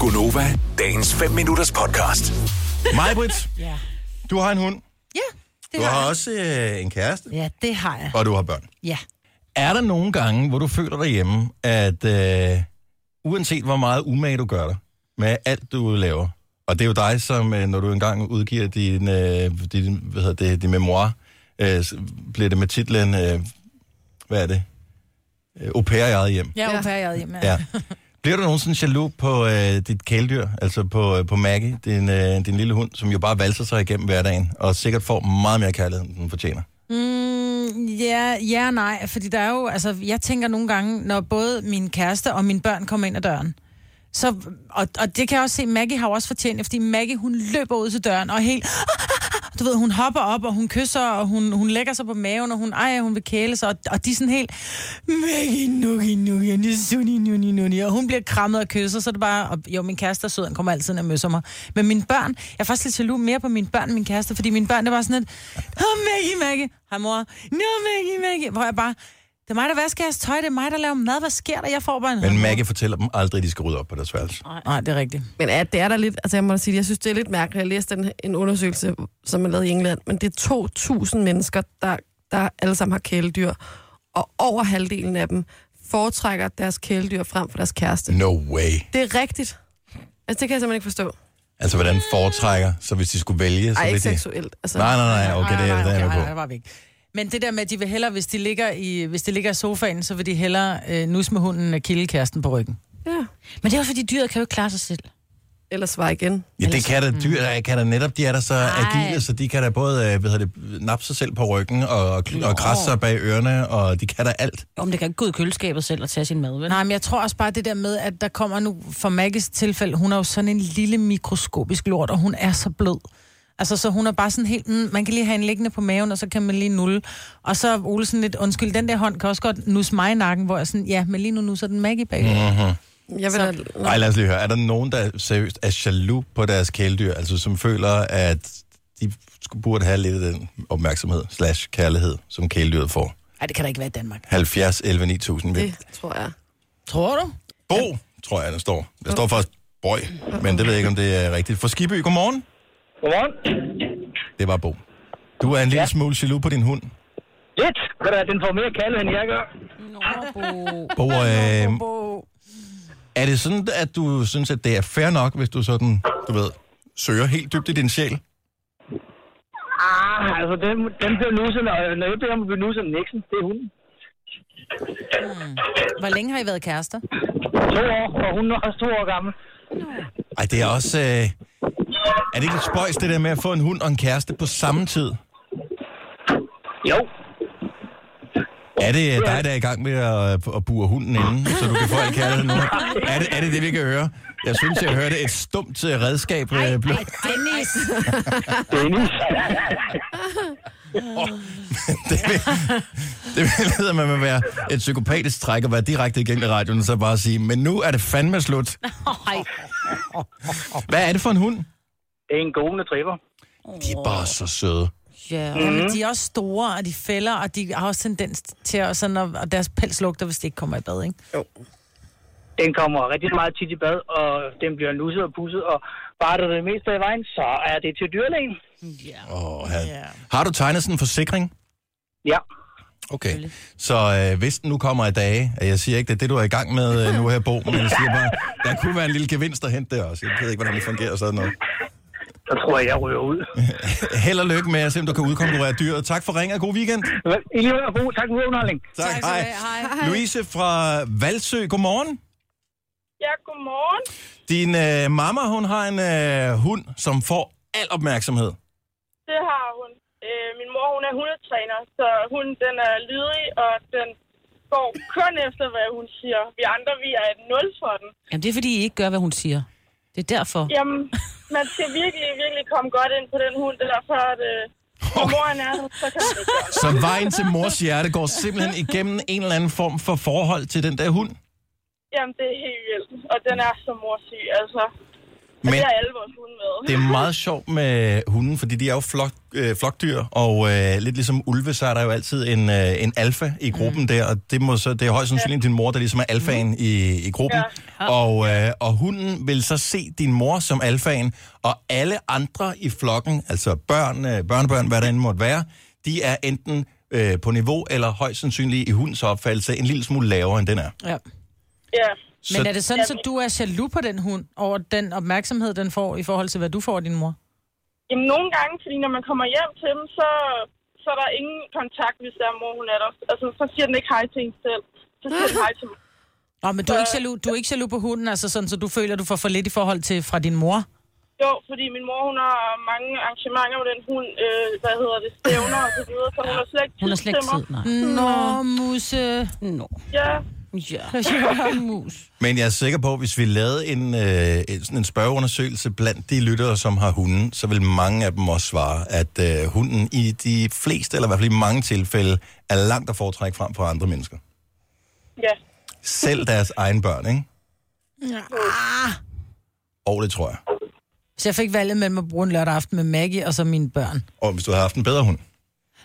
Gunova, dagens 5 minutters podcast. Majbrit, Ja. du har en hund. Ja, det Du har har jeg. også øh, en kæreste, Ja, det har jeg. og du har børn. Ja. Er der nogle gange, hvor du føler dig hjemme, at øh, uanset hvor meget umage du gør dig med alt, du laver, og det er jo dig, som øh, når du engang udgiver din, øh, din, hvad hedder det, din memoir, øh, s- bliver det med titlen, øh, hvad er det? Øh, Au pair i eget hjem. Jeg er au pair i eget hjem, ja. Ja. Bliver du nogensinde jaloux på øh, dit kæledyr, altså på, øh, på Maggie, din, øh, din lille hund, som jo bare valser sig igennem hverdagen, og sikkert får meget mere kærlighed, end den fortjener? Mm, ja, ja og nej, fordi der er jo, altså, jeg tænker nogle gange, når både min kæreste og mine børn kommer ind ad døren, så, og, og det kan jeg også se, Maggie har jo også fortjent, det, fordi Maggie, hun løber ud til døren og er helt, du ved, hun hopper op, og hun kysser, og hun, hun lægger sig på maven, og hun, ej, hun vil kæle sig, og, og de er sådan helt, Maggie, nuki, nuki, nissuni, nuni, nuni, og hun bliver krammet og kysser, så er det bare, og, jo, min kæreste er sød, han kommer altid ned og møsser mig, men mine børn, jeg er faktisk lidt jaloux mere på mine børn end min kæreste, fordi mine børn, det var sådan et, åh, Maggie, Maggie, hej mor, nå, Maggie, Maggie, hvor jeg bare, det er mig, der vasker jeres tøj, det er mig, der laver mad, hvad sker der, jeg får bare en Men Maggie fortæller dem aldrig, at de skal rydde op på deres værelse. Nej, det er rigtigt. Men ja, det er der lidt, altså jeg må sige, jeg synes, det er lidt mærkeligt. Jeg læste en, en undersøgelse, som er lavet i England, men det er 2.000 mennesker, der, der alle sammen har kæledyr, og over halvdelen af dem foretrækker deres kæledyr frem for deres kæreste. No way. Det er rigtigt. Altså, det kan jeg simpelthen ikke forstå. Altså, hvordan foretrækker, så hvis de skulle vælge, så Ej, ville ikke de... seksuelt. Altså, Nej, nej, nej, okay, det, Ah, nej, er- det er jeg nej, med nej, det på. var vi ikke. Men det der med, at de vil hellere, hvis de ligger i, hvis de ligger i sofaen, så vil de hellere øh, nus med hunden og kilde kæresten på ryggen. Ja. Men det er også fordi, dyret kan jo ikke klare sig selv. Ellers svar igen. Ja, det kan da dyr, Mm. der kan da netop, de er der så Ej. agile, så de kan da både, øh, hvad hedder det, nappe sig selv på ryggen, og, og, og krasse sig bag ørerne, og de kan da alt. Om det kan ikke gå ud i køleskabet selv og tage sin mad, vel? Nej, men jeg tror også bare det der med, at der kommer nu, for Maggies tilfælde, hun er jo sådan en lille mikroskopisk lort, og hun er så blød. Altså, så hun er bare sådan helt, mm, man kan lige have en liggende på maven, og så kan man lige nulle. Og så er Ole sådan lidt, undskyld, den der hånd kan også godt nusse mig i nakken, hvor jeg sådan, ja, men lige nu nusser den Maggie bag. Mm. Jeg vil da... Nej, lad os lige høre. Er der nogen, der seriøst er jaloux på deres kæledyr, altså som føler, at de skulle- burde have lidt af den opmærksomhed slash kærlighed, som kæledyret får? Ej, det kan da ikke være i Danmark. 70, 11, 9000. vil- Det tror jeg. Tror du? Bo, tror jeg, der står. Der står faktisk Bøj, men det ved jeg ikke, om det er rigtigt. For Skibby, godmorgen. Godmorgen. Det var Bo. Du er en lille smule jaloux på din hund. Lidt. Ved du, hvad, den får mere kalve, end jeg gør. Bo, øh, er det sådan, at du synes, at det er fair nok, hvis du sådan, du ved, søger helt dybt i din sjæl? Ah, altså, den, den bliver nusset, når, når jeg beder om at blive nusset af Nixon. Det er hun. Hvor længe har I været kærester? To år, og hun er også to år gammel. Ej, det er også... Øh, er det ikke lidt spøjs, det der med at få en hund og en kæreste på samme tid? Jo. Er det øh, dig, der er i gang med at, at bure hunden inden, så du kan få al kærligheden nu? Er det, er det det, vi kan høre? Jeg synes, jeg hørte et stumt øh, redskab. Ej, ej, Dennis! Dennis. det, vil, det leder man med at være et psykopatisk træk og være direkte igennem i radioen og så bare sige, men nu er det fandme slut. Ej, Hvad er det for en hund? det er en golden retriever. De er bare så søde. ja. Jamen, de er også store, og de fælder, og de har også tendens til at sådan, at, og deres pels lugter, hvis de ikke kommer i bad, ikke? Den kommer rigtig meget tit i bad, og den bliver nusset og pusset, og bare der er det meste af vejen, så er det til dyrlægen. Oh, ja. Ja. Har du tegnet sådan en forsikring? Ja. Okay. Så øh, hvis den nu kommer i dage, og jeg siger ikke, det er det, du er i gang med øh, nu her, Bo, men jeg siger bare, der kunne være en lille gevinst at hente der også. Jeg ved ikke, hvordan det fungerer sådan noget. Så tror jeg, jeg ryger ud. Held og lykke med at se, om du kan udkonkurrere dyret. Tak for ringen og god weekend. I lige måde, og god. Tak for god underholdning. Tak, skal du hej. have. Louise fra Valsø, godmorgen. Ja, godmorgen. Din øh, mamma, hun har en øh, hund, som får al opmærksomhed. Det har hun. Øh, min mor, hun er hundetræner, så hun den er lydig, og den går kun efter, hvad hun siger. Vi andre, vi er et nul for den. Jamen, det er fordi, I ikke gør, hvad hun siger. Det er derfor. Jamen, man skal virkelig, virkelig komme godt ind på den hund, der før, at øh, når moren er der, så kan man ikke gøre det. Så vejen til mors hjerte går simpelthen igennem en eller anden form for forhold til den der hund. Jamen, det er helt vildt. Og den er så morsyg, altså. Men... Men Det er alle vores hunde med. det er meget sjovt med hunden, fordi de er jo flok, øh, flokdyr, og øh, lidt ligesom ulve, så er der jo altid en, øh, en alfa i gruppen mm. der, og det, må så, det er højst sandsynligt din mor, der ligesom er alfaen mm. i, i gruppen. Ja. Og, øh, og hunden vil så se din mor som alfaen, og alle andre i flokken, altså børn, øh, børnebørn, hvad der end måtte være, de er enten øh, på niveau, eller højst sandsynligt i hundens opfattelse en lille smule lavere, end den er. Ja. Ja. Så, Men er det sådan, at så du er jaloux på den hund, over den opmærksomhed, den får, i forhold til, hvad du får af din mor? Jamen nogle gange, fordi når man kommer hjem til dem, så, så er der ingen kontakt, hvis der er mor, hun er der. Altså, så siger den ikke hej til en selv. Så siger den hej til mig. Nå, men du er, ikke jaloux, du er ikke jaloux på hunden, altså sådan, så du føler, du får for lidt i forhold til fra din mor? Jo, fordi min mor, hun har mange arrangementer med den hund, øh, hvad hedder det, stævner og så videre, så hun har slet ikke Hun har tid slet til ikke mig. tid, nej. Nå, musse. Nå. Ja, Ja. Mus. Men jeg er sikker på, at hvis vi lavede en, øh, en, sådan en spørgeundersøgelse blandt de lyttere, som har hunden, så vil mange af dem også svare, at øh, hunden i de fleste, eller i hvert fald i mange tilfælde, er langt at foretrække frem for andre mennesker. ja. Selv deres egne børn, ikke? Ah, Og det tror jeg. så jeg fik valget mellem at bruge en lørdag aften med Maggie og så mine børn. Og hvis du havde haft en bedre hund.